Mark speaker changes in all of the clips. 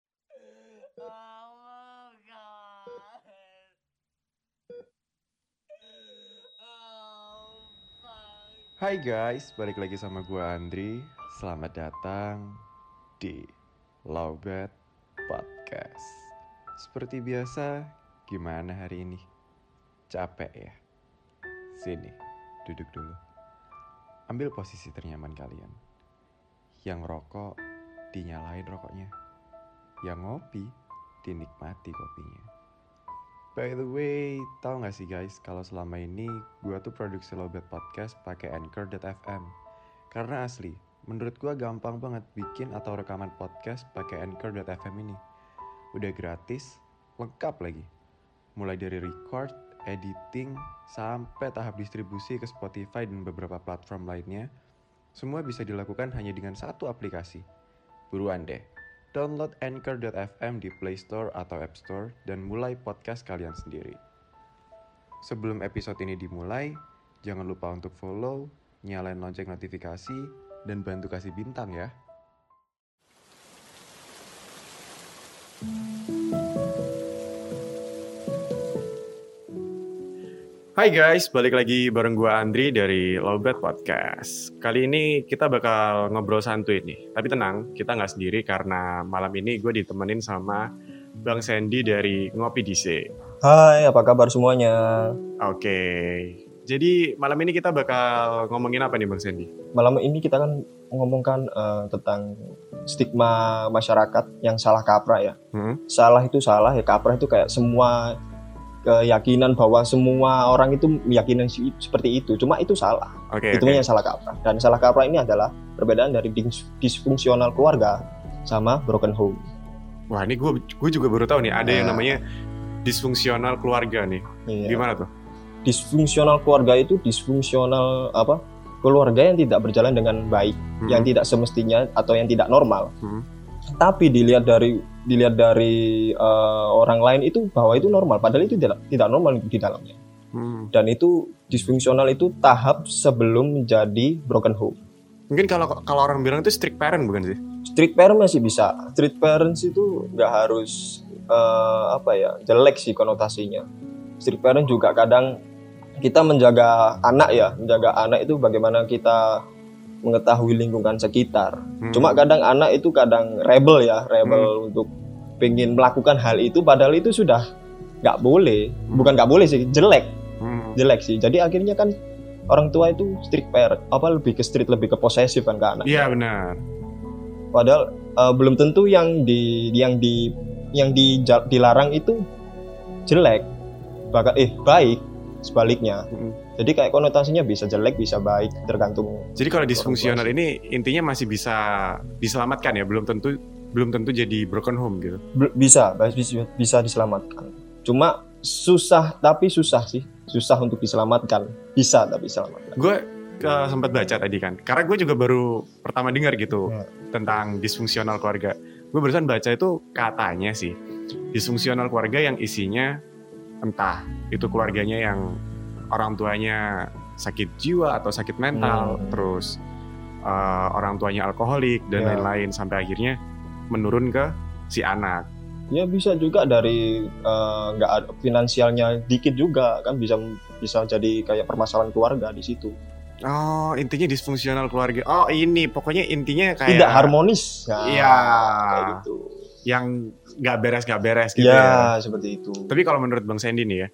Speaker 1: Oh my god. Oh fuck.
Speaker 2: Hai guys, balik lagi sama gue Andri. Selamat datang di Lowbat Podcast. Seperti biasa, gimana hari ini? Capek ya? Sini, duduk dulu. Ambil posisi ternyaman kalian. Yang rokok, dinyalain rokoknya. Yang ngopi, dinikmati kopinya. By the way, tahu nggak sih guys, kalau selama ini gua tuh produksi Lobet Podcast pakai Anchor.fm. Karena asli, menurut gua gampang banget bikin atau rekaman podcast pakai Anchor.fm ini. Udah gratis, lengkap lagi. Mulai dari record, editing, sampai tahap distribusi ke Spotify dan beberapa platform lainnya, semua bisa dilakukan hanya dengan satu aplikasi. Buruan deh, download Anchor.fm di Play Store atau App Store dan mulai podcast kalian sendiri. Sebelum episode ini dimulai, jangan lupa untuk follow, nyalain lonceng notifikasi, dan bantu kasih bintang ya. Hai guys, balik lagi bareng gue Andri dari Lowbat Podcast. Kali ini kita bakal ngobrol santuy nih. Tapi tenang, kita nggak sendiri karena malam ini gue ditemenin sama Bang Sandy dari Ngopi DC.
Speaker 3: Hai, apa kabar semuanya?
Speaker 2: Oke, jadi malam ini kita bakal ngomongin apa nih Bang Sandy?
Speaker 3: Malam ini kita akan mengomongkan eh, tentang stigma masyarakat yang salah kaprah ya.
Speaker 2: Hmm?
Speaker 3: Salah itu salah ya, kaprah itu kayak semua keyakinan bahwa semua orang itu meyakinan si- seperti itu. Cuma itu salah.
Speaker 2: Oke,
Speaker 3: itu
Speaker 2: oke.
Speaker 3: yang salah kaprah. Dan salah kaprah ini adalah perbedaan dari dis- disfungsional keluarga sama broken home.
Speaker 2: Wah ini gue gue juga baru tahu nih ada yang
Speaker 3: Nah.
Speaker 2: namanya disfungsional keluarga nih.
Speaker 3: Iya.
Speaker 2: Gimana tuh?
Speaker 3: Disfungsional keluarga itu disfungsional apa? Keluarga yang tidak berjalan dengan baik.
Speaker 2: Hmm?
Speaker 3: yang tidak semestinya atau yang tidak normal.
Speaker 2: Hmm.
Speaker 3: Tapi dilihat dari dilihat dari eh, orang lain itu bahwa itu normal, padahal itu tidak tidak normal di dalamnya.
Speaker 2: Hmm.
Speaker 3: Dan itu disfungsional itu tahap sebelum menjadi broken home.
Speaker 2: Mungkin kalau kalau orang bilang itu strict parent bukan sih?
Speaker 3: Street parent masih bisa. Street parents itu nggak harus eh, apa ya jelek sih konotasinya. Street parent juga kadang kita menjaga anak ya, menjaga anak itu bagaimana kita mengetahui lingkungan sekitar.
Speaker 2: Hmm.
Speaker 3: Cuma kadang anak itu kadang rebel ya, rebel untuk pengen melakukan hal itu padahal itu sudah nggak boleh. Bukan nggak boleh sih, jelek,
Speaker 2: Hmm.
Speaker 3: jelek sih. Jadi akhirnya kan orang tua itu strict parent, apa lebih ke strict, lebih ke posesif kan ke anak.
Speaker 2: Iya benar.
Speaker 3: Padahal eh, belum tentu yang di yang di yang di, dilarang itu jelek. Bahkan eh baik sebaliknya.
Speaker 2: Hmm.
Speaker 3: Jadi kayak konotasinya bisa jelek, bisa baik tergantung
Speaker 2: Jadi kalau disfungsional ini intinya masih bisa diselamatkan ya, belum tentu belum tentu jadi broken home gitu.
Speaker 3: Bel- bisa bas- bisa bisa diselamatkan cuma susah tapi susah sih susah untuk diselamatkan bisa tapi diselamatkan
Speaker 2: Gue sempat baca tadi kan, karena gue juga baru pertama dengar gitu
Speaker 3: Ya.
Speaker 2: tentang disfungsional keluarga. Gue barusan baca itu katanya sih disfungsional keluarga yang isinya entah itu keluarganya yang orang tuanya sakit jiwa atau sakit mental,
Speaker 3: Hmm.
Speaker 2: terus eh, orang tuanya alkoholik dan
Speaker 3: Ya.
Speaker 2: lain-lain sampai akhirnya menurun ke si anak.
Speaker 3: ya bisa juga dari eh, nggak ada finansialnya dikit juga kan bisa bisa jadi kayak permasalahan keluarga di situ
Speaker 2: Oh, intinya disfungsional keluarga. Oh, ini pokoknya intinya kayak
Speaker 3: tidak harmonis Nah,
Speaker 2: Iya.
Speaker 3: kayak gitu
Speaker 2: yang nggak beres nggak beres gitu
Speaker 3: ya
Speaker 2: ya.
Speaker 3: seperti itu
Speaker 2: Tapi kalau menurut Bang Sandy nih ya,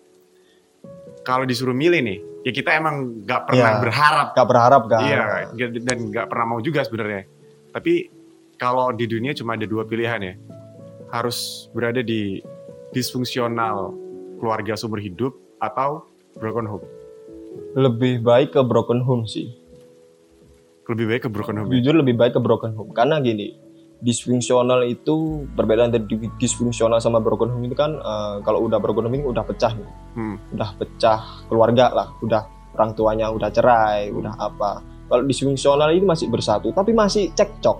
Speaker 2: kalau disuruh milih nih, ya kita emang nggak pernah
Speaker 3: Iya.
Speaker 2: berharap,
Speaker 3: nggak berharap kan
Speaker 2: iya, nggak- dan nggak pernah mau juga sebenarnya. Tapi kalau di dunia cuma ada dua pilihan ya, harus berada di disfungsional keluarga sumber hidup atau broken home.
Speaker 3: lebih baik ke broken home sih
Speaker 2: Lebih baik ke broken
Speaker 4: Hmm.
Speaker 2: home. ya.
Speaker 3: jujur lebih baik ke broken home karena gini disfungsional itu perbedaan dari di- disfungsional sama broken home itu kan eh, kalau udah broken home ini udah pecah nih
Speaker 2: Hmm.
Speaker 3: udah pecah keluarga lah udah orang tuanya udah cerai udah apa kalau disfungsional ini masih bersatu tapi masih cekcok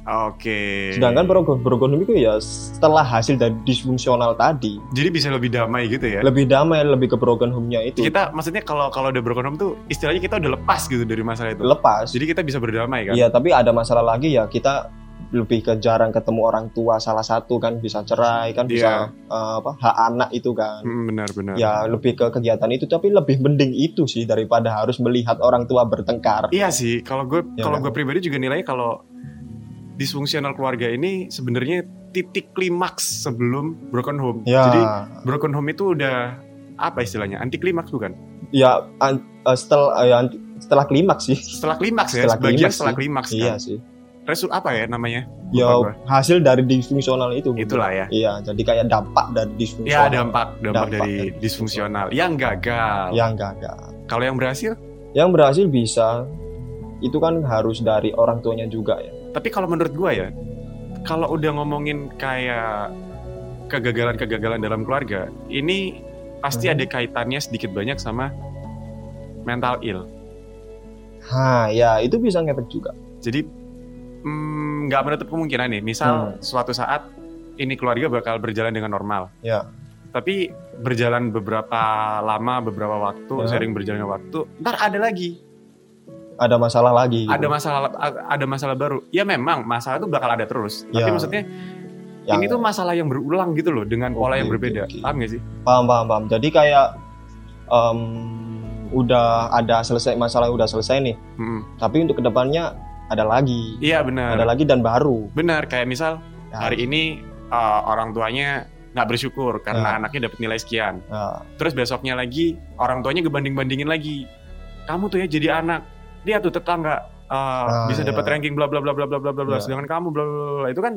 Speaker 2: Oke.
Speaker 3: sedangkan broken, broken home itu ya setelah hasil dari disfungsional tadi
Speaker 2: Jadi bisa lebih damai gitu ya.
Speaker 3: lebih damai lebih ke broken home-nya itu
Speaker 2: kita maksudnya kalau kalau udah broken home tuh istilahnya kita udah lepas gitu dari masalah itu.
Speaker 3: lepas
Speaker 2: Jadi kita bisa berdamai kan.
Speaker 3: Iya, tapi ada masalah lagi ya kita lebih ke jarang ketemu orang tua salah satu kan bisa cerai kan bisa
Speaker 4: Iya.
Speaker 3: eh, apa hak anak itu kan
Speaker 4: Mm, Benar-benar.
Speaker 3: ya lebih ke kegiatan itu tapi lebih mending itu sih daripada harus melihat orang tua bertengkar
Speaker 4: Iya sih, kalau gue
Speaker 3: Ya
Speaker 4: kalau
Speaker 3: kan?
Speaker 4: gue pribadi juga nilainya kalau disfungsional keluarga ini sebenarnya titik klimaks sebelum broken home.
Speaker 3: ya
Speaker 4: Jadi broken home itu udah apa istilahnya? Anti klimaks bukan?
Speaker 3: ya an- eh, setelah eh, anti- setelah klimaks sih
Speaker 4: Setelah klimaks ya,
Speaker 3: Setelah
Speaker 4: sebagian
Speaker 3: klimaks
Speaker 4: setelah
Speaker 3: sih.
Speaker 4: klimaks
Speaker 3: iya
Speaker 4: kan.
Speaker 3: sih
Speaker 4: Resul apa ya namanya?
Speaker 3: ya
Speaker 4: Lupa
Speaker 3: hasil dari disfungsional itu mungkin.
Speaker 4: Itulah ya.
Speaker 3: iya jadi kayak dampak dari disfungsional
Speaker 4: Ya dampak dampak,
Speaker 3: Dampak ya.
Speaker 4: dari
Speaker 3: dari
Speaker 4: disfungsional yang gagal.
Speaker 3: ya enggak enggak
Speaker 4: Kalau yang berhasil,
Speaker 3: yang berhasil bisa itu kan harus dari orang tuanya juga ya
Speaker 4: tapi kalau menurut gue ya, kalau udah ngomongin kayak kegagalan-kegagalan dalam keluarga, ini pasti
Speaker 3: Hmm.
Speaker 4: ada kaitannya sedikit banyak sama mental ill.
Speaker 3: ha ya itu bisa ngefek juga
Speaker 4: Jadi mm, nggak menutup kemungkinan nih,
Speaker 3: Hmm.
Speaker 4: misal suatu saat ini keluarga bakal berjalan dengan normal.
Speaker 3: Ya.
Speaker 4: Tapi berjalan beberapa lama, beberapa waktu,
Speaker 3: Ya.
Speaker 4: sering berjalannya waktu, ntar ada lagi,
Speaker 3: ada masalah lagi gitu.
Speaker 4: ada masalah, ada masalah baru. Ya memang masalah itu bakal ada terus. Tapi
Speaker 3: Ya.
Speaker 4: maksudnya
Speaker 3: Yang-
Speaker 4: ini tuh masalah yang berulang gitu loh, dengan pola
Speaker 3: Oke,
Speaker 4: yang
Speaker 3: oke,
Speaker 4: berbeda.
Speaker 3: oke.
Speaker 4: Paham gak sih?
Speaker 3: paham paham paham jadi kayak em, udah ada selesai masalah yang udah selesai nih
Speaker 4: Mm.
Speaker 3: tapi untuk kedepannya ada lagi
Speaker 4: Iya benar,
Speaker 3: ada lagi dan baru
Speaker 4: benar. Kayak misal
Speaker 3: Ya,
Speaker 4: hari ini uh, orang tuanya nggak bersyukur karena
Speaker 3: Ya.
Speaker 4: anaknya dapat nilai sekian.
Speaker 3: ya,
Speaker 4: Terus besoknya lagi orang tuanya ngebanding-bandingin lagi. Kamu tuh ya jadi anak. Dia tuh tetangga uh, bisa
Speaker 3: iya.
Speaker 4: dapat ranking bla bla bla bla bla bla bla bla
Speaker 3: Iya.
Speaker 4: sedangkan kamu bla bla bla, bla itu kan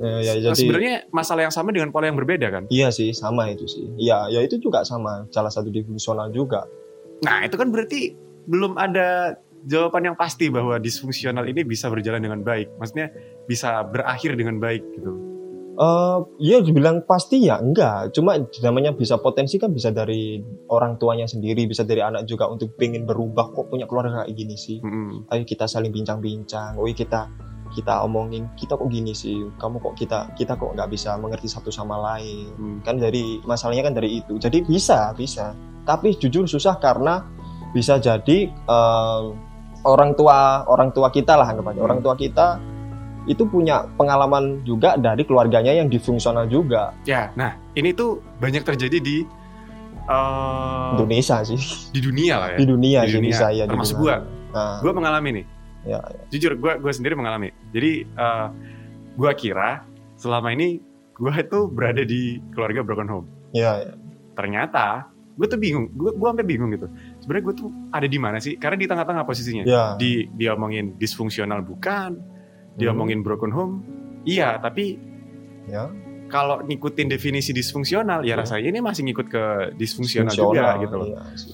Speaker 3: ya, ya, jadi
Speaker 4: Nah, sebenarnya masalah yang sama dengan pola yang berbeda kan.
Speaker 3: iya sih sama itu sih iya ya itu juga sama salah satu difungsional juga
Speaker 4: Nah, itu kan berarti belum ada jawaban yang pasti bahwa disfungsional ini bisa berjalan dengan baik. Maksudnya bisa berakhir dengan baik gitu.
Speaker 3: Eh, Iya dibilang pasti ya enggak cuma namanya bisa potensi kan bisa dari orang tuanya sendiri bisa dari anak juga untuk pengen berubah kok punya keluarga kayak gini sih
Speaker 4: Mm-mm.
Speaker 3: ayo kita saling bincang-bincang, oi kita kita omongin, kita kok gini sih, kamu kok kita kita kok nggak bisa mengerti satu sama lain,
Speaker 4: Mm.
Speaker 3: kan dari masalahnya kan dari itu, jadi bisa bisa, tapi jujur susah karena bisa jadi eh, orang tua orang tua kita lah anggapannya,
Speaker 4: Hmm.
Speaker 3: orang tua kita itu punya pengalaman juga dari keluarganya yang difungsional juga
Speaker 4: Ya, nah ini tuh banyak terjadi di uh,
Speaker 3: Indonesia sih
Speaker 4: di dunia lah ya.
Speaker 3: di dunia
Speaker 4: di
Speaker 3: sih
Speaker 4: dunia,
Speaker 3: bisa ya di
Speaker 4: termasuk
Speaker 3: dunia.
Speaker 4: gua.
Speaker 3: Nah,
Speaker 4: gue mengalami nih
Speaker 3: Ya,
Speaker 4: jujur gue gue sendiri mengalami jadi eh, gue kira selama ini gue itu berada di keluarga broken home
Speaker 3: ya, ya.
Speaker 4: ternyata gue tuh bingung gue gue sampai bingung gitu sebenarnya gue tuh ada di mana sih karena di tengah-tengah posisinya
Speaker 3: ya.
Speaker 4: di diomongin disfungsional bukan
Speaker 3: Hmm.
Speaker 4: diomongin broken home iya tapi
Speaker 3: Ya.
Speaker 4: kalau ngikutin definisi disfungsional ya
Speaker 3: Ya.
Speaker 4: rasanya ini masih ngikut ke disfungsional, juga gitu loh
Speaker 3: iya sih.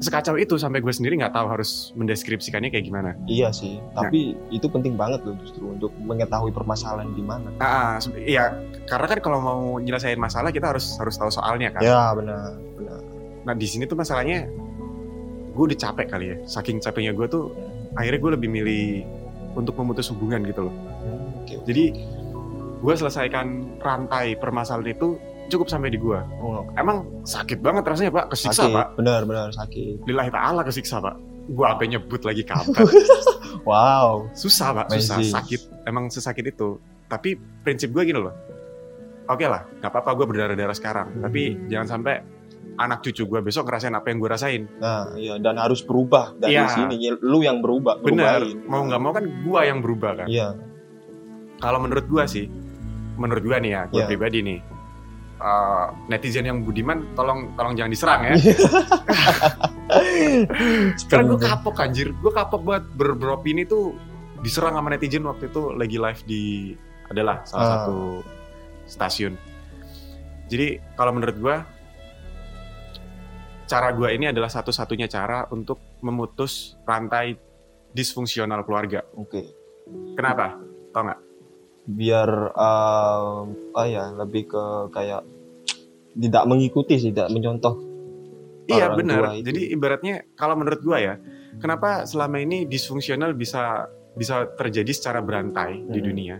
Speaker 4: sekacau itu sampai gue sendiri nggak tahu harus mendeskripsikannya kayak gimana
Speaker 3: Iya sih,
Speaker 4: Nah.
Speaker 3: tapi itu penting banget loh justru untuk mengetahui permasalahan di mana.
Speaker 4: Ah, ah, se- iya karena kan kalau mau nyelesain masalah kita harus harus tahu soalnya kan.
Speaker 3: Ya benar, benar.
Speaker 4: Nah di sini tuh masalahnya gue udah capek kali ya, saking capeknya gue tuh akhirnya gue lebih milih untuk memutus hubungan gitu loh.
Speaker 3: Hmm, Oke, oke.
Speaker 4: Jadi gue selesaikan rantai permasalahan itu cukup sampai di gue.
Speaker 3: Oh,
Speaker 4: Emang sakit banget rasanya pak, kesiksa
Speaker 3: sakit,
Speaker 4: pak.
Speaker 3: benar, benar sakit.
Speaker 4: Lillahi ta'ala kesiksa pak. Gue apa nyebut lagi kapan.
Speaker 3: Wow,
Speaker 4: susah pak susah
Speaker 3: Amazing.
Speaker 4: sakit emang sesakit itu tapi prinsip gue gini loh oke lah nggak apa-apa gue berdarah darah sekarang
Speaker 3: Hmm.
Speaker 4: tapi jangan sampai anak cucu gue besok ngerasain apa yang gue rasain
Speaker 3: nah iya dan harus berubah dari
Speaker 4: Iya.
Speaker 3: sini. Ya, Lu yang berubah,
Speaker 4: bener
Speaker 3: berubahin.
Speaker 4: mau nggak mau kan gue yang berubah kan
Speaker 3: Iya,
Speaker 4: kalau menurut gue sih menurut gue nih ya gue
Speaker 3: Iya.
Speaker 4: pribadi nih eh, netizen yang budiman tolong tolong jangan diserang ya karena gue Kan kapok anjir gue kapok banget ber beropini tuh diserang sama netizen waktu itu lagi live di adalah salah
Speaker 3: Ah.
Speaker 4: satu stasiun jadi kalau menurut gue cara gue ini adalah satu-satunya cara untuk memutus rantai disfungsional keluarga
Speaker 3: Oke,
Speaker 4: kenapa
Speaker 3: biar em, ah ya lebih ke kayak tidak mengikuti sih, tidak mencontoh.
Speaker 4: iya
Speaker 3: Orang tua
Speaker 4: benar
Speaker 3: itu.
Speaker 4: jadi ibaratnya kalau menurut gue ya kenapa selama ini disfungsional bisa bisa terjadi secara berantai di
Speaker 3: Hmm.
Speaker 4: dunia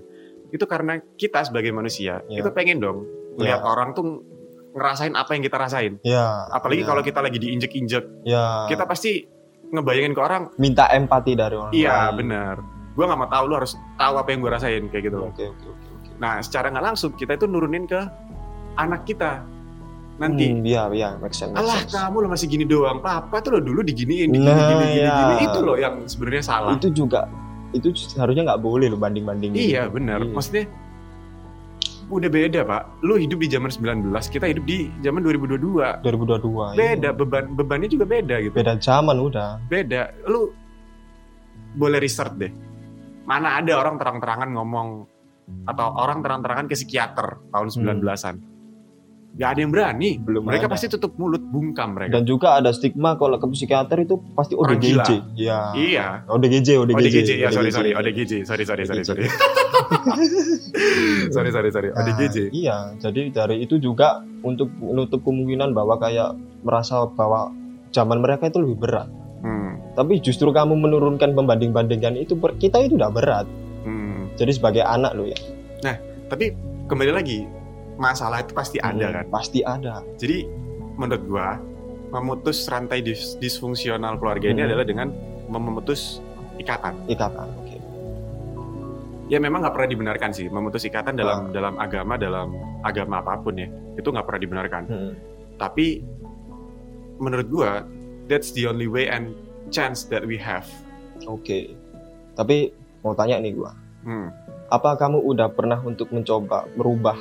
Speaker 4: itu karena kita sebagai manusia
Speaker 3: Ya.
Speaker 4: itu pengen dong
Speaker 3: Ya,
Speaker 4: Lihat orang tuh ngerasain apa yang kita rasain.
Speaker 3: ya.
Speaker 4: Apalagi
Speaker 3: ya,
Speaker 4: kalau kita lagi diinjek-injek,
Speaker 3: ya.
Speaker 4: kita pasti ngebayangin ke orang,
Speaker 3: minta empati dari orang
Speaker 4: iya
Speaker 3: lain.
Speaker 4: bener. gue nggak mau tahu lu harus tahu apa yang gue rasain kayak gitu loh
Speaker 3: Oke oke oke oke.
Speaker 4: nah secara nggak langsung kita itu nurunin ke anak kita nanti
Speaker 3: Hmm, Iya iya make sense. make
Speaker 4: Alah
Speaker 3: sense.
Speaker 4: kamu lo masih gini doang. Papa tuh lo dulu diginiin, digini,
Speaker 3: Nah,
Speaker 4: gini, gini,
Speaker 3: ya.
Speaker 4: gini. Itu loh yang sebenarnya salah.
Speaker 3: Itu juga itu seharusnya nggak boleh lo banding banding.
Speaker 4: Iya benar.
Speaker 3: Iya.
Speaker 4: Maksudnya udah beda pak. Lo hidup di zaman 19, kita hidup di zaman 2022.
Speaker 3: 2022. iya.
Speaker 4: Beda beban bebannya juga beda gitu.
Speaker 3: Beda zaman udah.
Speaker 4: Beda. Lo boleh research deh. Mana ada orang terang-terangan ngomong atau orang terang-terangan ke psikiater tahun 19-an. Gak ada yang berani.
Speaker 3: Hmm. Belum
Speaker 4: mereka
Speaker 3: ada.
Speaker 4: pasti tutup mulut, bungkam mereka.
Speaker 3: Dan juga ada stigma kalau ke psikiater itu pasti
Speaker 4: Orang
Speaker 3: ODGJ. Iya.
Speaker 4: iya.
Speaker 3: ODGJ, ODGJ.
Speaker 4: ODGJ, ya sorry sorry ODGJ sorry sorry sorry sorry
Speaker 3: ODGJ.
Speaker 4: sorry sorry Oh, sorry
Speaker 3: Nah,
Speaker 4: ODGJ
Speaker 3: Iya, jadi dari itu juga untuk menutup kemungkinan bahwa kayak merasa bahwa zaman mereka itu lebih berat.
Speaker 4: hmm,
Speaker 3: Tapi justru kamu menurunkan membanding-bandingkan itu per- kita itu udah berat.
Speaker 4: hmm.
Speaker 3: Jadi sebagai anak lo ya.
Speaker 4: tapi kembali lagi masalah itu pasti
Speaker 3: Iya.
Speaker 4: ada kan
Speaker 3: Pasti ada.
Speaker 4: jadi menurut gua memutus rantai dis- disfungsional keluarga ini
Speaker 3: Hmm.
Speaker 4: adalah dengan mem- memutus ikatan
Speaker 3: Ikatan. kan, Oke.
Speaker 4: ya memang nggak pernah dibenarkan sih memutus ikatan
Speaker 3: Ah.
Speaker 4: dalam dalam agama dalam agama apapun ya itu nggak pernah dibenarkan
Speaker 3: Hmm.
Speaker 4: tapi menurut gua that's the only way and chance that we have
Speaker 3: Oke. Tapi mau tanya nih gua,
Speaker 4: hmm.
Speaker 3: apa kamu udah pernah untuk mencoba merubah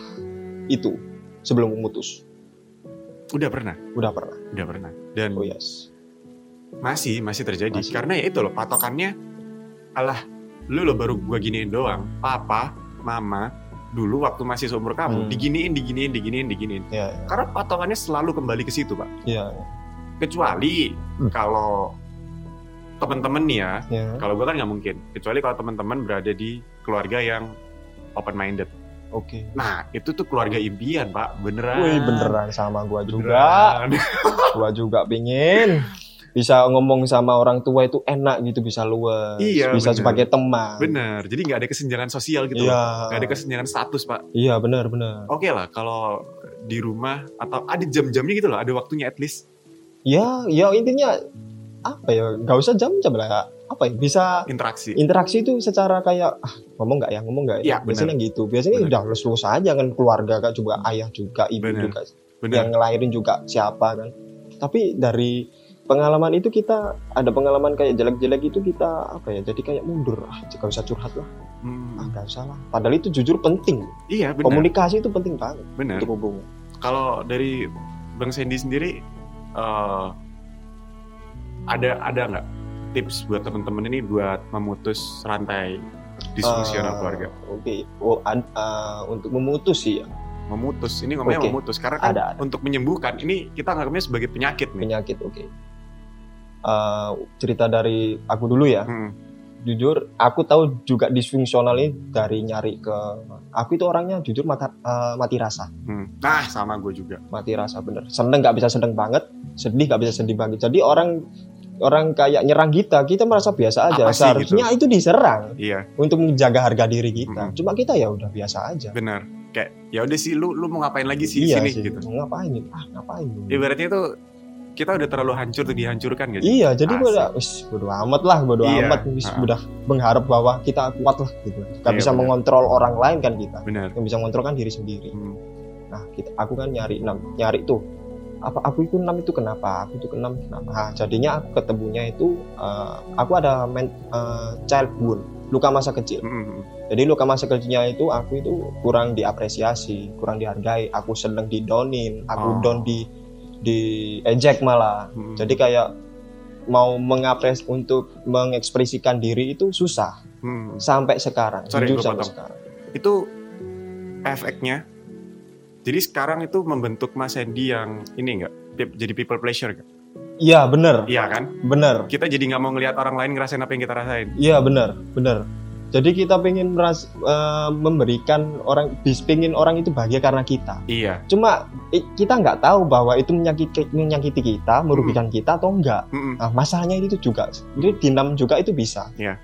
Speaker 3: itu sebelum memutus?
Speaker 4: udah pernah
Speaker 3: Udah pernah.
Speaker 4: udah pernah dan
Speaker 3: Oh yes.
Speaker 4: Masih, masih terjadi.
Speaker 3: Masih.
Speaker 4: Karena ya itu loh, patokannya, alah, lu lo baru gua giniin doang. Papa, mama, dulu waktu masih seumur kamu,
Speaker 3: Hmm.
Speaker 4: diginiin, diginiin, diginiin, diginiin.
Speaker 3: Iya,
Speaker 4: Karena patokannya selalu kembali ke situ, Pak.
Speaker 3: iya,
Speaker 4: Kecuali
Speaker 3: Hmm.
Speaker 4: kalau temen-temen nih ya,
Speaker 3: iya.
Speaker 4: kalau gua kan nggak mungkin. Kecuali kalau teman-teman berada di keluarga yang open-minded.
Speaker 3: Oke.
Speaker 4: Nah, itu tuh keluarga impian, Pak. Beneran.
Speaker 3: Wih, beneran sama gua
Speaker 4: Nah,
Speaker 3: juga.
Speaker 4: Beneran.
Speaker 3: gua juga pingin bisa ngomong sama orang tua itu enak gitu bisa luwes
Speaker 4: Iya,
Speaker 3: bisa
Speaker 4: bener.
Speaker 3: sebagai teman
Speaker 4: Bener. Jadi nggak ada kesenjangan sosial gitu
Speaker 3: iya
Speaker 4: loh. Nggak ada kesenjangan status, Pak.
Speaker 3: iya benar benar
Speaker 4: oke lah kalau di rumah atau ada jam-jamnya gitu loh, ada waktunya at least
Speaker 3: ya ya intinya apa ya nggak usah jam-jam lah apa ya bisa
Speaker 4: interaksi.
Speaker 3: interaksi itu secara kayak ah, ngomong nggak ya ngomong nggak
Speaker 4: Iya,
Speaker 3: ya, biasanya gitu biasanya
Speaker 4: Bener.
Speaker 3: udah lulus lulus aja kan keluarga kan juga
Speaker 4: Hmm.
Speaker 3: ayah juga ibu
Speaker 4: Bener.
Speaker 3: juga yang
Speaker 4: Bener.
Speaker 3: ngelahirin juga siapa kan tapi dari pengalaman itu kita ada pengalaman kayak jelek-jelek itu kita apa ya jadi kayak mundur ah nggak usah curhat lah ah
Speaker 4: Hmm,
Speaker 3: nggak usah lah padahal itu jujur penting
Speaker 4: iya bener.
Speaker 3: komunikasi itu penting banget
Speaker 4: Bener.
Speaker 3: untuk hubungan
Speaker 4: Kalau dari Bang Sandy sendiri eh, ada ada nggak tips buat temen-temen ini buat memutus rantai disfungsional
Speaker 3: Eh,
Speaker 4: keluarga?
Speaker 3: oke Oh, ad- eh, untuk memutus sih ya,
Speaker 4: Memutus ini ngomongnya
Speaker 3: Oke.
Speaker 4: memutus karena kan
Speaker 3: ada, ada
Speaker 4: untuk menyembuhkan ini kita nganggapnya sebagai penyakit nih.
Speaker 3: penyakit oke Eh, cerita dari aku dulu ya
Speaker 4: Hmm,
Speaker 3: jujur aku tahu juga disfungsional ini dari nyari ke aku itu orangnya jujur mata, eh, mati rasa
Speaker 4: hmm. Nah sama gue juga.
Speaker 3: mati rasa bener seneng nggak bisa seneng banget sedih nggak bisa sedih banget jadi orang orang kayak nyerang kita kita merasa biasa aja
Speaker 4: Apa sih gitu?
Speaker 3: seharusnya itu diserang
Speaker 4: Iya
Speaker 3: untuk menjaga harga diri
Speaker 4: Mm.
Speaker 3: kita. Cuma kita ya udah biasa aja.
Speaker 4: bener. Kayak ya udah sih lu lu mau ngapain lagi sih
Speaker 3: iya
Speaker 4: sini
Speaker 3: sih.
Speaker 4: gitu.
Speaker 3: Mau Ngapain? nih? Ah, ngapain? nih?
Speaker 4: ibaratnya tuh kita udah terlalu hancur tuh dihancurkan gak sih?
Speaker 3: Iya, jadi
Speaker 4: Asik.
Speaker 3: gue udah, wis, bodo amat lah, bodo
Speaker 4: Iya,
Speaker 3: amat, wis,
Speaker 4: ha-ha.
Speaker 3: udah mengharap bahwa kita kuat lah gitu. Gak
Speaker 4: Iya,
Speaker 3: bisa
Speaker 4: benar.
Speaker 3: mengontrol orang lain kan kita,
Speaker 4: Bener.
Speaker 3: yang bisa mengontrol kan diri sendiri.
Speaker 4: Hmm.
Speaker 3: Nah, kita, aku kan nyari enam, nyari tuh apa aku itu enam itu kenapa? Aku itu enam kenapa? Nah, jadinya aku ketemunya itu, eh, aku ada men, eh, child wound, luka masa kecil.
Speaker 4: Mm-mm.
Speaker 3: Jadi luka masa kecilnya itu aku itu kurang diapresiasi, kurang dihargai, aku seneng
Speaker 4: Oh. Hmm.
Speaker 3: didonin, aku down di di ejek malah.
Speaker 4: Mm-mm.
Speaker 3: Jadi kayak mau mengapres untuk mengekspresikan diri itu susah
Speaker 4: Mm-mm.
Speaker 3: sampai sekarang.
Speaker 4: Sorry, gua
Speaker 3: Jujur sampai
Speaker 4: potong.
Speaker 3: sekarang.
Speaker 4: Hmm. itu efeknya. Jadi sekarang itu membentuk Mas Sandy yang ini enggak jadi people pleasure gak?
Speaker 3: Iya bener,
Speaker 4: Iya kan?
Speaker 3: bener,
Speaker 4: Kita jadi nggak mau ngelihat orang lain ngerasain apa yang kita rasain.
Speaker 3: iya bener, bener. Jadi kita pengen meras- eh, memberikan orang, bis pengen orang itu bahagia karena kita.
Speaker 4: Iya.
Speaker 3: Cuma eh, kita nggak tahu bahwa itu menyakiti, menyakiti kita,
Speaker 4: Hmm.
Speaker 3: merugikan kita atau enggak.
Speaker 4: Mm-mm.
Speaker 3: Nah, masalahnya itu juga itu dinam juga itu bisa.
Speaker 4: Iya.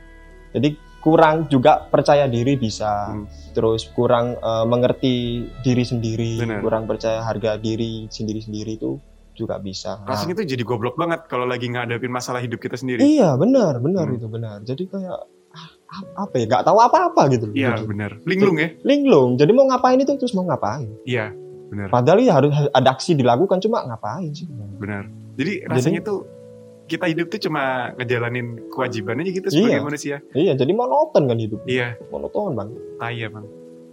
Speaker 3: Jadi kurang juga percaya diri bisa.
Speaker 4: Hmm.
Speaker 3: Terus kurang eh, mengerti diri sendiri,
Speaker 4: Benar.
Speaker 3: kurang percaya harga diri sendiri-sendiri itu juga bisa. Nah,
Speaker 4: Rasanya tuh jadi goblok banget kalau lagi ngadapin masalah hidup kita sendiri.
Speaker 3: iya, benar, benar
Speaker 4: Gitu. Hmm.
Speaker 3: itu benar. Jadi kayak ah, "Ap- apa ya nggak tahu apa-apa gitu loh.
Speaker 4: Iya
Speaker 3: Jadi,
Speaker 4: benar. Linglung ya?
Speaker 3: linglung jadi mau ngapain itu terus mau ngapain
Speaker 4: Iya benar
Speaker 3: padahal ya harus ada aksi dilakukan cuma ngapain sih
Speaker 4: benar. Jadi rasanya tuh kita hidup tuh cuma ngejalanin kewajiban aja gitu sebagai
Speaker 3: Iya.
Speaker 4: manusia. Ah,
Speaker 3: iya jadi monoton kan hidup
Speaker 4: Iya,
Speaker 3: monoton bang
Speaker 4: tai emang.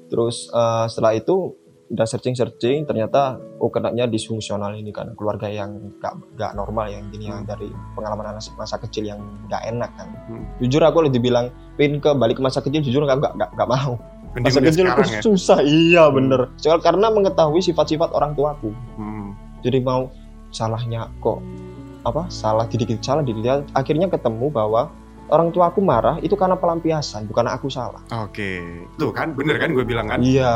Speaker 3: terus eh, setelah itu udah searching searching ternyata oh kenanya disfungsional ini kan keluarga yang gak, gak normal yang gini yang dari pengalaman anak masa kecil yang gak enak kan
Speaker 4: Hmm.
Speaker 3: jujur aku udah dibilang pin ke balik ke masa kecil jujur aku gak, gak, gak mau
Speaker 4: Mending
Speaker 3: masa
Speaker 4: udah
Speaker 3: kecil aku
Speaker 4: sekarang ya.
Speaker 3: susah iya
Speaker 4: Hmm.
Speaker 3: bener soal karena mengetahui sifat-sifat orang tuaku
Speaker 4: Hmm.
Speaker 3: jadi mau salahnya kok apa salah dikit salah dilihat akhirnya ketemu bahwa orang tuaku marah itu karena pelampiasan bukan aku salah
Speaker 4: Oke, tuh kan bener kan gue bilang kan.
Speaker 3: Iya.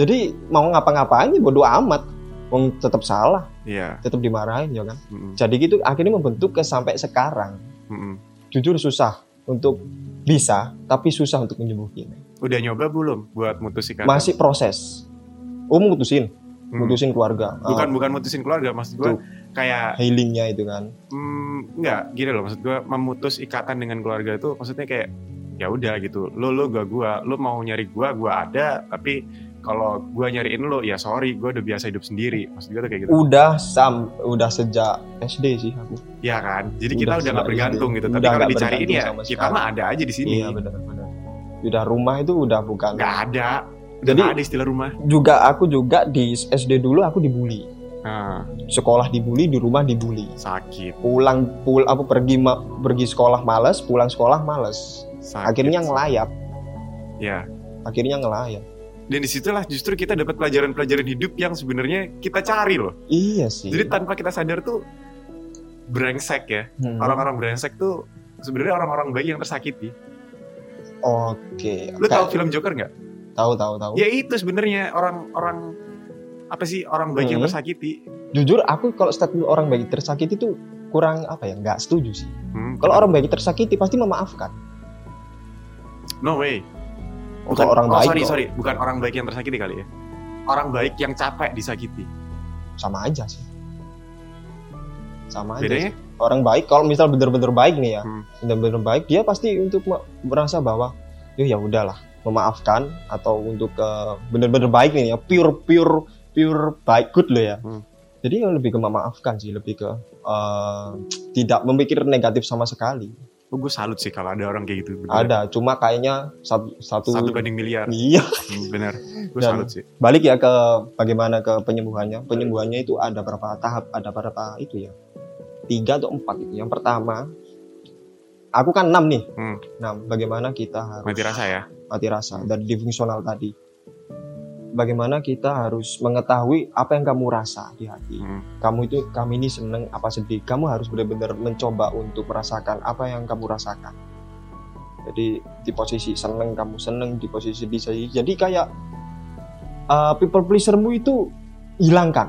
Speaker 3: Jadi mau ngapa-ngapain ya bodo amat. Wong tetap salah,
Speaker 4: Iya.
Speaker 3: tetap dimarahin ya kan.
Speaker 4: Mm-mm.
Speaker 3: Jadi gitu akhirnya membentuk ke sampai sekarang.
Speaker 4: Mm-mm.
Speaker 3: Jujur susah untuk bisa, tapi susah untuk menyembuhin.
Speaker 4: Udah nyoba belum buat mutusin ikatan?
Speaker 3: Masih proses. Oh mutusin,
Speaker 4: Hmm.
Speaker 3: mutusin keluarga. Ah,
Speaker 4: Bukan bukan mutusin keluarga maksud gue.
Speaker 3: Tuh.
Speaker 4: Kayak
Speaker 3: healingnya itu kan.
Speaker 4: hmm, enggak gini loh maksud gue memutus ikatan dengan keluarga itu maksudnya kayak ya udah gitu. Lo lo gak gua, lo mau nyari gua gua ada, tapi kalau gua nyariin lo ya sorry, gua udah biasa hidup sendiri. Maksud gue tuh kayak gitu.
Speaker 3: Udah sam, udah sejak SD sih aku.
Speaker 4: Iya kan? Jadi kita udah
Speaker 3: Udah
Speaker 4: nggak
Speaker 3: sejak
Speaker 4: bergantung
Speaker 3: SD.
Speaker 4: gitu. Tapi
Speaker 3: Udah
Speaker 4: kalau
Speaker 3: nggak
Speaker 4: dicariin
Speaker 3: bergantung
Speaker 4: ya
Speaker 3: sama
Speaker 4: kita
Speaker 3: sekali.
Speaker 4: mah ada aja di sini.
Speaker 3: Iya benar-benar. Udah rumah itu udah bukan.
Speaker 4: Nggak ada. Jadi
Speaker 3: Jadi
Speaker 4: ada istilah rumah.
Speaker 3: juga aku juga di SD dulu aku dibully.
Speaker 4: Nah,
Speaker 3: Sekolah dibully, di rumah dibully.
Speaker 4: sakit,
Speaker 3: pulang pul apa pergi ma- pergi sekolah males pulang sekolah males
Speaker 4: sakit.
Speaker 3: akhirnya ngelayap
Speaker 4: Ya.
Speaker 3: akhirnya ngelayap
Speaker 4: Dan disitulah justru kita dapat pelajaran-pelajaran hidup yang sebenarnya kita cari loh.
Speaker 3: iya sih
Speaker 4: Jadi tanpa kita sadar tuh brengsek ya.
Speaker 3: Hmm.
Speaker 4: Orang-orang brengsek tuh sebenarnya orang-orang baik yang tersakiti.
Speaker 3: oke
Speaker 4: Lu
Speaker 3: Kayak-
Speaker 4: tahu film Joker nggak?
Speaker 3: tahu tahu tahu
Speaker 4: Ya itu sebenarnya orang-orang apa sih orang baik yang
Speaker 3: Hmm.
Speaker 4: tersakiti.
Speaker 3: jujur aku kalau statement orang baik tersakiti itu kurang apa ya nggak setuju sih
Speaker 4: Hmm,
Speaker 3: kalau orang baik tersakiti pasti memaafkan
Speaker 4: no way.
Speaker 3: Kalau orang
Speaker 4: oh,
Speaker 3: baik
Speaker 4: sorry
Speaker 3: kok.
Speaker 4: sorry bukan orang baik yang tersakiti kali ya orang baik yang capek disakiti
Speaker 3: sama aja sih sama aja
Speaker 4: bedanya
Speaker 3: sih. orang baik kalau misal bener-bener baik nih ya
Speaker 4: Hmm.
Speaker 3: bener-bener baik dia pasti untuk me- merasa bahwa "Yuh, ya udahlah memaafkan atau untuk eh, bener-bener baik nih ya pure pure pure baik good loh ya
Speaker 4: Hmm.
Speaker 3: jadi ya lebih ke memaafkan sih lebih ke eh, tidak memikir negatif sama sekali
Speaker 4: oh, gue salut sih kalau ada orang kayak gitu bener.
Speaker 3: ada cuma kayaknya satu satu,
Speaker 4: satu banding miliar
Speaker 3: iya
Speaker 4: Hmm, bener gue
Speaker 3: Dan-
Speaker 4: salut sih
Speaker 3: balik ya ke bagaimana ke penyembuhannya penyembuhannya itu ada berapa tahap ada berapa itu ya tiga atau empat itu yang pertama aku kan enam nih
Speaker 4: Hmm.
Speaker 3: enam bagaimana kita harus
Speaker 4: mati rasa ya
Speaker 3: mati rasa dan di fungsional tadi bagaimana kita harus mengetahui apa yang kamu rasa di hati
Speaker 4: Hmm,
Speaker 3: kamu itu kamu ini seneng apa sedih kamu harus benar-benar mencoba untuk merasakan apa yang kamu rasakan jadi di posisi seneng kamu seneng di posisi sedih sedih jadi kayak uh, people pleasermu itu hilangkan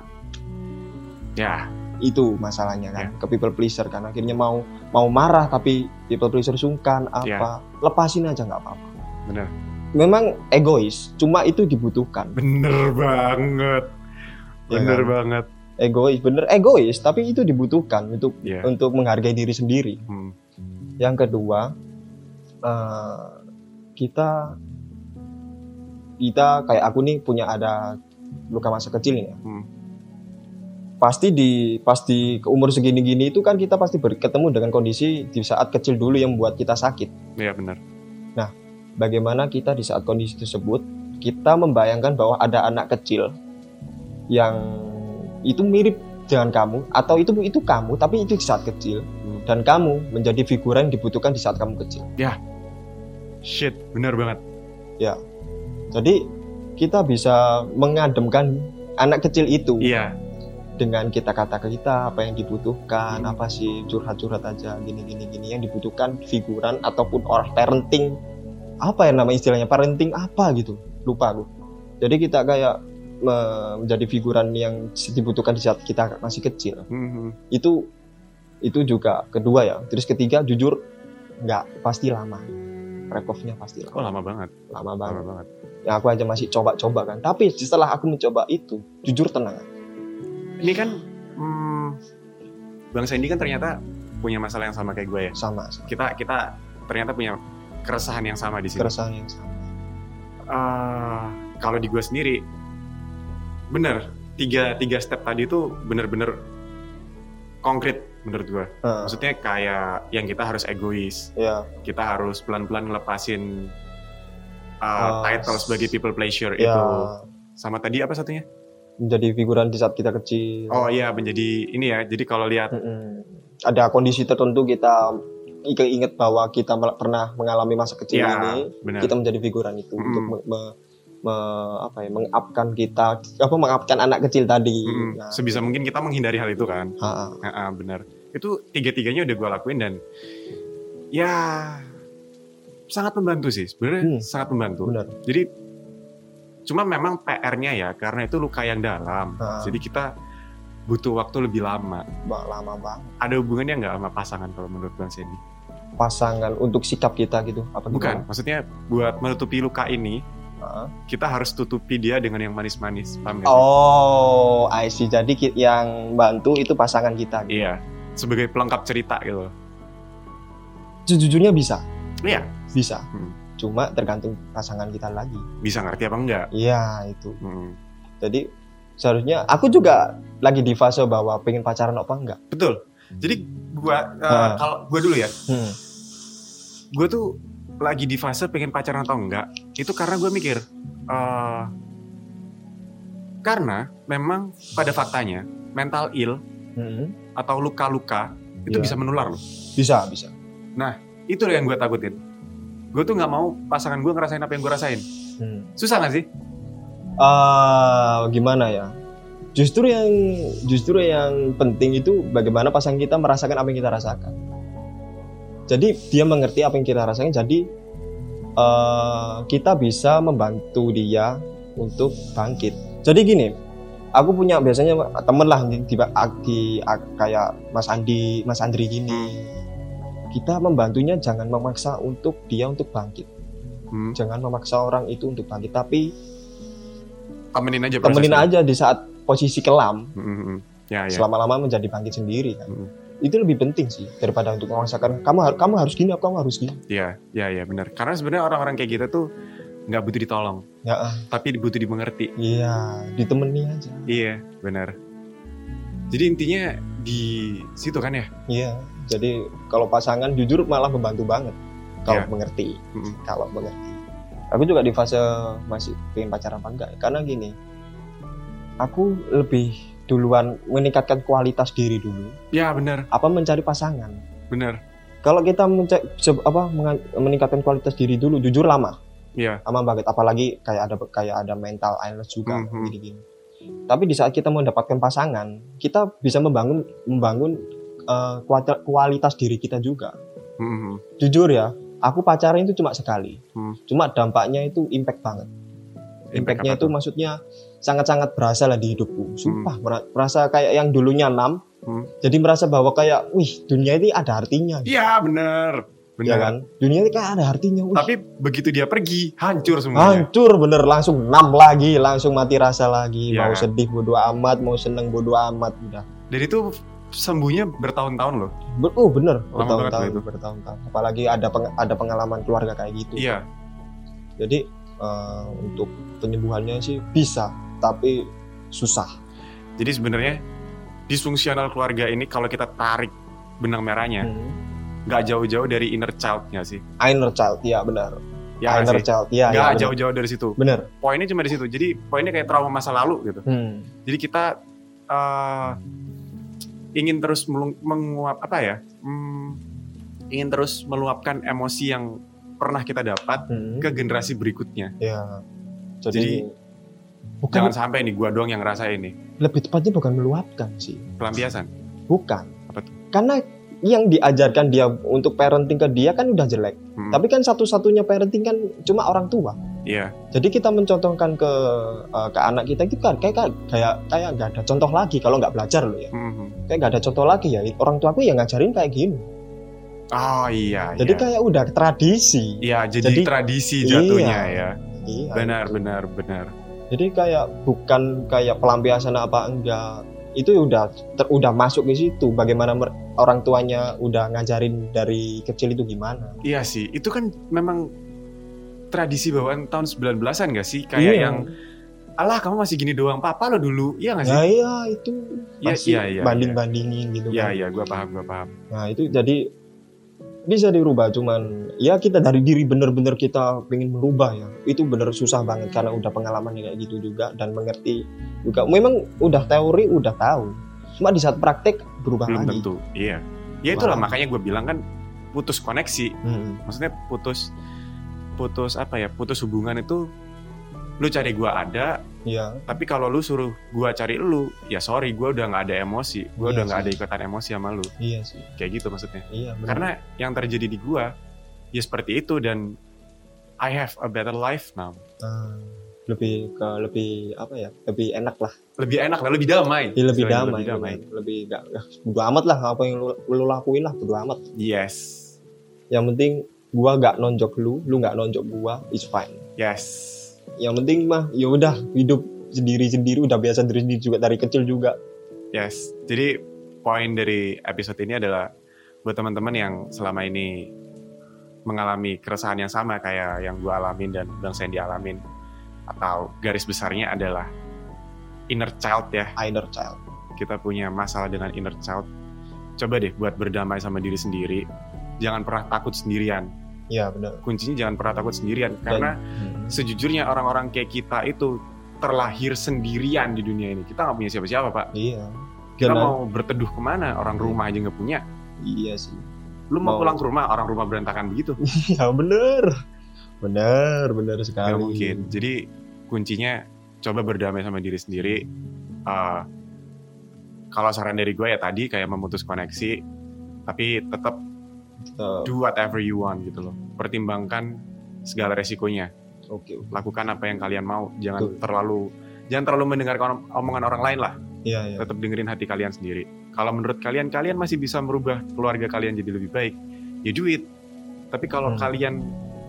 Speaker 4: ya
Speaker 3: itu masalahnya kan ke people pleaser kan akhirnya mau mau marah tapi people pleaser sungkan apa lepasin aja nggak apa-apa
Speaker 4: Bener.
Speaker 3: memang egois cuma itu dibutuhkan
Speaker 4: bener banget
Speaker 3: ya
Speaker 4: bener
Speaker 3: kan?
Speaker 4: banget
Speaker 3: egois bener egois tapi itu dibutuhkan untuk
Speaker 4: ya
Speaker 3: untuk menghargai diri sendiri
Speaker 4: Hmm,
Speaker 3: Yang kedua, eh, kita kita kayak aku nih punya ada luka masa kecil ini. ya.
Speaker 4: Hmm.
Speaker 3: Pasti di pasti ke umur segini-gini itu kan kita pasti berketemu dengan kondisi di saat kecil dulu yang membuat kita sakit.
Speaker 4: ya bener
Speaker 3: Bagaimana kita di saat kondisi tersebut kita membayangkan bahwa ada anak kecil yang itu mirip dengan kamu atau itu itu kamu tapi itu di saat kecil
Speaker 4: Hmm.
Speaker 3: dan kamu menjadi figuran yang dibutuhkan di saat kamu kecil.
Speaker 4: shit bener banget
Speaker 3: Jadi kita bisa mengademkan anak kecil itu
Speaker 4: iya
Speaker 3: dengan kita kata kita apa yang dibutuhkan,
Speaker 4: Hmm.
Speaker 3: apa sih curhat-curhat aja gini gini gini yang dibutuhkan figuran ataupun orang parenting apa ya nama istilahnya parenting apa gitu lupa aku. Jadi kita kayak me- menjadi figuran yang dibutuhkan di saat kita masih kecil
Speaker 4: Hmm, hmm.
Speaker 2: Mm-hmm.
Speaker 3: itu itu juga kedua ya. Terus ketiga jujur nggak pasti lama recovery-nya pasti
Speaker 4: oh
Speaker 3: lama,
Speaker 4: lama banget
Speaker 3: lama banget
Speaker 2: Hmm.
Speaker 4: lama banget
Speaker 3: ya aku aja masih coba-coba kan tapi setelah aku mencoba itu jujur tenang
Speaker 4: ini kan hmm, bang Sandy kan ternyata punya masalah yang sama kayak gue ya
Speaker 3: sama, sama.
Speaker 4: kita kita ternyata punya keresahan yang sama di sini.
Speaker 3: keresahan yang sama
Speaker 4: Eh, kalau di gue sendiri, bener tiga tiga step tadi itu bener-bener konkret menurut gue.
Speaker 3: Nah,
Speaker 4: Maksudnya kayak yang kita harus egois,
Speaker 3: ya
Speaker 4: kita harus pelan-pelan ngelepasin eh,
Speaker 3: Ah,
Speaker 4: title sebagai people pleasure
Speaker 3: ya
Speaker 4: itu. Sama tadi apa satunya?
Speaker 3: menjadi figuran di saat kita kecil
Speaker 4: Oh iya, menjadi ini ya. Jadi kalau lihat
Speaker 3: Mm-mm. ada kondisi tertentu kita ingat bahwa kita mel- pernah mengalami masa kecil
Speaker 4: ya
Speaker 3: ini
Speaker 4: benar.
Speaker 3: kita menjadi figuran itu
Speaker 4: Mm-mm.
Speaker 3: untuk me- me- me- apa ya mengapkan kita apa mengapkan anak kecil tadi
Speaker 4: Mm-mm.
Speaker 3: Nah,
Speaker 4: Sebisa mungkin kita menghindari hal itu kan.
Speaker 3: ha, ha.
Speaker 4: Heeh, benar. Itu tiga-tiganya udah gue lakuin dan ya sangat membantu sih. Sebenarnya
Speaker 3: Hmm.
Speaker 4: sangat membantu.
Speaker 3: benar
Speaker 4: Jadi cuma memang PR-nya ya karena itu luka yang dalam.
Speaker 3: Ah.
Speaker 4: Jadi kita butuh waktu lebih lama.
Speaker 3: Wah, lama banget
Speaker 4: Ada hubungannya nggak sama pasangan kalau menurut Bang Sandy?
Speaker 3: pasangan untuk sikap kita gitu apa
Speaker 4: Bukan. Maksudnya buat menutupi luka ini
Speaker 3: gimana? Ha.
Speaker 4: kita harus tutupi dia dengan yang manis-manis. Paham nggak sih?
Speaker 3: oh I see jadi ki- yang bantu itu pasangan kita gitu.
Speaker 4: Iya. Sebagai pelengkap cerita gitu.
Speaker 3: sejujurnya bisa
Speaker 4: Iya.
Speaker 3: bisa
Speaker 4: Hmm.
Speaker 3: cuma tergantung pasangan kita lagi
Speaker 4: Bisa ngerti apa enggak?
Speaker 3: iya itu
Speaker 4: Mm.
Speaker 3: jadi seharusnya aku juga lagi di fase bahwa pengen pacaran apa enggak
Speaker 4: Betul. Jadi gua eh,
Speaker 3: Ah.
Speaker 4: kalau gua dulu ya,
Speaker 3: Hmm.
Speaker 4: gue tuh lagi di fase pengen pacaran atau enggak itu karena gue mikir eh, karena memang pada faktanya mental ill
Speaker 3: Hmm.
Speaker 4: atau luka-luka itu
Speaker 3: Iya.
Speaker 4: bisa menular loh
Speaker 3: bisa bisa
Speaker 4: itu yang gue takutin gue tuh nggak mau pasangan gue ngerasain apa yang gue rasain
Speaker 3: Hmm.
Speaker 4: susah nggak sih
Speaker 3: Ah, gimana ya? Justru yang justru yang penting itu bagaimana pasangan kita merasakan apa yang kita rasakan. Jadi dia mengerti apa yang kita rasakan. Jadi eh, kita bisa membantu dia untuk bangkit. Jadi gini, aku punya biasanya temen lah di, di, di- kayak Mas Andi, Mas Andri gini. Kita membantunya jangan memaksa untuk dia untuk bangkit.
Speaker 4: Hmm,
Speaker 3: Jangan memaksa orang itu untuk bangkit, tapi
Speaker 4: temenin aja
Speaker 3: temenin
Speaker 4: prosesnya.
Speaker 3: aja di saat posisi kelam
Speaker 4: Hmm, hmm, hmm. ya
Speaker 2: Iya.
Speaker 4: ya
Speaker 3: selama-lama menjadi bangkit sendiri kan
Speaker 4: Mm.
Speaker 3: itu lebih penting sih daripada untuk memaksakan kamu har- kamu harus gini kamu harus gini
Speaker 4: ya ya ya benar karena sebenarnya orang-orang kayak kita tuh nggak butuh ditolong
Speaker 3: ya ah,
Speaker 4: tapi butuh dimengerti
Speaker 3: iya ditemani aja
Speaker 4: iya benar jadi intinya di situ kan ya
Speaker 3: iya jadi kalau pasangan jujur malah membantu banget kalau
Speaker 4: Iya.
Speaker 3: mengerti
Speaker 4: Mm.
Speaker 3: kalau mengerti aku juga di fase masih pengen pacaran apa enggak karena gini aku lebih duluan meningkatkan kualitas diri dulu
Speaker 4: ya benar
Speaker 3: apa mencari pasangan
Speaker 4: benar
Speaker 3: kalau kita mencek se- apa menga- meningkatkan kualitas diri dulu jujur lama
Speaker 4: Iya.
Speaker 3: lama banget apalagi kayak ada kayak ada mental illness juga
Speaker 4: Mhm.
Speaker 3: gini-gini. tapi di saat kita mendapatkan pasangan kita bisa membangun membangun eh, kuat- kualitas diri kita juga
Speaker 4: Mm-mm.
Speaker 3: jujur ya aku pacaran itu cuma sekali
Speaker 4: Hmm.
Speaker 3: cuma dampaknya itu impact banget
Speaker 4: Impact
Speaker 3: impactnya
Speaker 4: apa
Speaker 3: itu
Speaker 4: tuh?
Speaker 3: maksudnya sangat-sangat berasa lah di hidupku sumpah mera- merasa kayak yang dulunya enam
Speaker 4: Hmm.
Speaker 3: jadi merasa bahwa kayak wih dunia ini ada artinya
Speaker 4: Iya bener Bener
Speaker 3: ya kan dunia ini kan ada artinya wih,
Speaker 4: Tapi ya. begitu dia pergi Hancur semuanya
Speaker 3: hancur bener langsung enam lagi langsung mati rasa lagi
Speaker 4: Iya
Speaker 3: mau
Speaker 4: kan?
Speaker 3: sedih bodo amat mau seneng bodo amat udah
Speaker 4: Dan itu sembuhnya bertahun-tahun loh
Speaker 3: Ber- oh bener
Speaker 4: Lama banget
Speaker 3: bertahun-tahun
Speaker 4: loh itu.
Speaker 3: bertahun-tahun apalagi ada peng- ada pengalaman keluarga kayak gitu
Speaker 4: Iya
Speaker 3: jadi eh, untuk penyembuhannya sih bisa tapi susah
Speaker 4: Jadi sebenarnya Disfungsional keluarga ini Kalau kita tarik benang merahnya
Speaker 3: hmm.
Speaker 4: nggak jauh-jauh dari inner childnya sih
Speaker 3: inner child ya benar
Speaker 4: Ya nggak
Speaker 3: inner
Speaker 4: sih?
Speaker 3: child ya,
Speaker 4: Nggak
Speaker 3: ya benar.
Speaker 4: jauh-jauh dari situ
Speaker 3: benar
Speaker 4: Poinnya cuma di situ Jadi poinnya kayak trauma masa lalu gitu
Speaker 3: Hmm.
Speaker 4: Jadi kita eh, Ingin terus melung- menguap Apa ya Hmm, Ingin terus meluapkan emosi yang Pernah kita dapat
Speaker 3: Hmm.
Speaker 4: ke generasi berikutnya
Speaker 3: ya jadi,
Speaker 4: Jadi-
Speaker 3: bukan
Speaker 4: Jangan sampai nih gua doang yang ngerasain nih
Speaker 3: lebih tepatnya bukan meluapkan sih
Speaker 4: pelampiasan.
Speaker 3: Bukan.
Speaker 4: Apa tuh?
Speaker 3: Karena yang diajarkan dia untuk parenting ke dia kan udah jelek.
Speaker 4: Mm.
Speaker 3: Tapi kan satu-satunya parenting kan cuma orang tua.
Speaker 4: Iya,
Speaker 3: Jadi kita mencontohkan ke eh, ke anak kita itu kan kayak kayak- kayak kayak nggak ada contoh lagi kalau nggak belajar loh ya.
Speaker 4: Mhm.
Speaker 3: Kayak nggak ada contoh lagi ya. Orang tua aku ya ngajarin kayak gini.
Speaker 4: Oh iya.
Speaker 3: Jadi
Speaker 4: iya.
Speaker 3: kayak udah tradisi.
Speaker 4: Iya, jadi,
Speaker 3: Jadi-
Speaker 4: tradisi jatuhnya
Speaker 3: Iya.
Speaker 4: ya.
Speaker 3: Iya.
Speaker 4: Benar, benar, benar.
Speaker 3: Jadi kayak bukan kayak pelampiasan apa enggak. itu udah ter, udah masuk di situ bagaimana mer- orang tuanya udah ngajarin dari kecil itu gimana
Speaker 4: Iya sih, itu kan memang tradisi bawaan tahun 19-an gak sih? Kayak
Speaker 3: Iya.
Speaker 4: yang, alah kamu masih gini doang, papa lo dulu, iya gak sih?
Speaker 3: ya iya itu
Speaker 4: Iya,
Speaker 3: pasti
Speaker 4: iya, iya,
Speaker 3: banding bandingin gitu
Speaker 4: Iya,
Speaker 3: kan
Speaker 4: iya, gue paham, gue paham.
Speaker 3: nah itu jadi bisa dirubah cuman ya kita dari diri bener-bener kita pengen merubah ya itu bener susah banget karena udah pengalaman kayak gitu juga dan mengerti juga memang udah teori udah tahu cuma di saat praktek berubah
Speaker 4: Belum
Speaker 3: lagi
Speaker 4: tentu, iya. Ya itulah,
Speaker 3: Paham.
Speaker 4: makanya gue bilang kan putus koneksi.
Speaker 3: Mm-mm.
Speaker 4: Maksudnya putus, putus apa ya, putus hubungan itu lu cari gue ada,
Speaker 3: Iya.
Speaker 4: tapi kalau lu suruh gue cari lu, ya sorry, gue udah gak ada emosi. Gue
Speaker 3: Iya
Speaker 4: udah gak
Speaker 3: sih.
Speaker 4: ada ikatan emosi sama lu.
Speaker 3: iya sih
Speaker 4: Kayak gitu maksudnya.
Speaker 3: iya bener.
Speaker 4: karena yang terjadi di gua ya seperti itu dan I have a better life now
Speaker 3: Ah, lebih ke lebih apa ya lebih enak lah
Speaker 4: lebih enak lah lebih damai
Speaker 3: Ya, lebih
Speaker 4: Istilahnya
Speaker 3: damai bener. lebih gak gak- bodo amat lah apa yang lu, lu lakuin lah bodo amat
Speaker 4: yes
Speaker 3: yang penting gua gak nonjok lu lu gak nonjok gua it's fine
Speaker 4: yes
Speaker 3: yang penting mah ya udah hidup sendiri sendiri udah biasa sendiri sendiri juga dari kecil juga
Speaker 4: yes jadi poin dari episode ini adalah buat teman-teman yang selama ini mengalami keresahan yang sama kayak yang gua alamin dan bang Sandy alamin atau garis besarnya adalah inner child ya
Speaker 3: either child
Speaker 4: kita punya masalah dengan inner child coba deh buat berdamai sama diri sendiri jangan pernah takut sendirian
Speaker 3: ya benar
Speaker 4: kuncinya jangan pernah takut sendirian karena
Speaker 3: Hmm.
Speaker 4: sejujurnya orang-orang kayak kita itu terlahir sendirian di dunia ini kita nggak punya siapa-siapa pak
Speaker 3: iya
Speaker 4: kita
Speaker 3: Karena-
Speaker 4: mau berteduh kemana orang rumah aja nggak punya
Speaker 3: iya sih
Speaker 4: lu mau,
Speaker 3: Mau-
Speaker 4: pulang ke rumah orang rumah berantakan begitu
Speaker 3: ya bener bener bener sekali
Speaker 4: nggak mungkin jadi kuncinya coba berdamai sama diri sendiri Eh, kalau saran dari gue ya tadi kayak memutus koneksi tapi tetap
Speaker 3: Eh,
Speaker 4: do whatever you want gitu loh pertimbangkan segala resikonya
Speaker 3: oke oke.
Speaker 4: lakukan apa yang kalian mau jangan
Speaker 3: Betul.
Speaker 4: terlalu jangan terlalu mendengarkan om- omongan orang lain lah
Speaker 3: iya iya
Speaker 4: tetap dengerin hati kalian sendiri kalau menurut kalian kalian masih bisa merubah keluarga kalian jadi lebih baik ya do it tapi kalau
Speaker 3: Hmm.
Speaker 4: kalian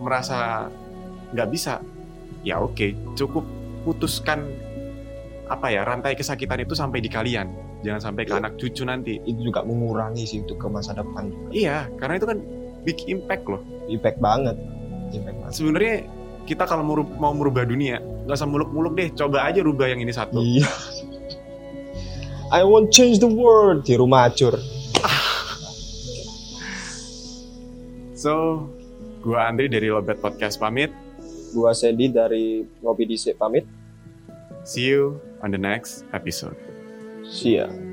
Speaker 4: merasa nggak bisa ya oke cukup putuskan apa ya rantai kesakitan itu sampai di kalian jangan sampai ke
Speaker 3: Iya.
Speaker 4: anak cucu nanti
Speaker 3: itu juga mengurangi sih untuk ke masa depan juga.
Speaker 4: iya karena itu kan big impact loh
Speaker 3: impact banget impact banget
Speaker 4: sebenarnya kita kalau mau, ru- mau merubah dunia nggak usah muluk-muluk deh coba aja rubah yang ini satu
Speaker 3: iya I want change the world di rumah acur
Speaker 4: So, gua Andri dari Lobet Podcast pamit.
Speaker 3: gua Sandy dari ngopi di pamit
Speaker 4: See you on the next episode.
Speaker 3: see ya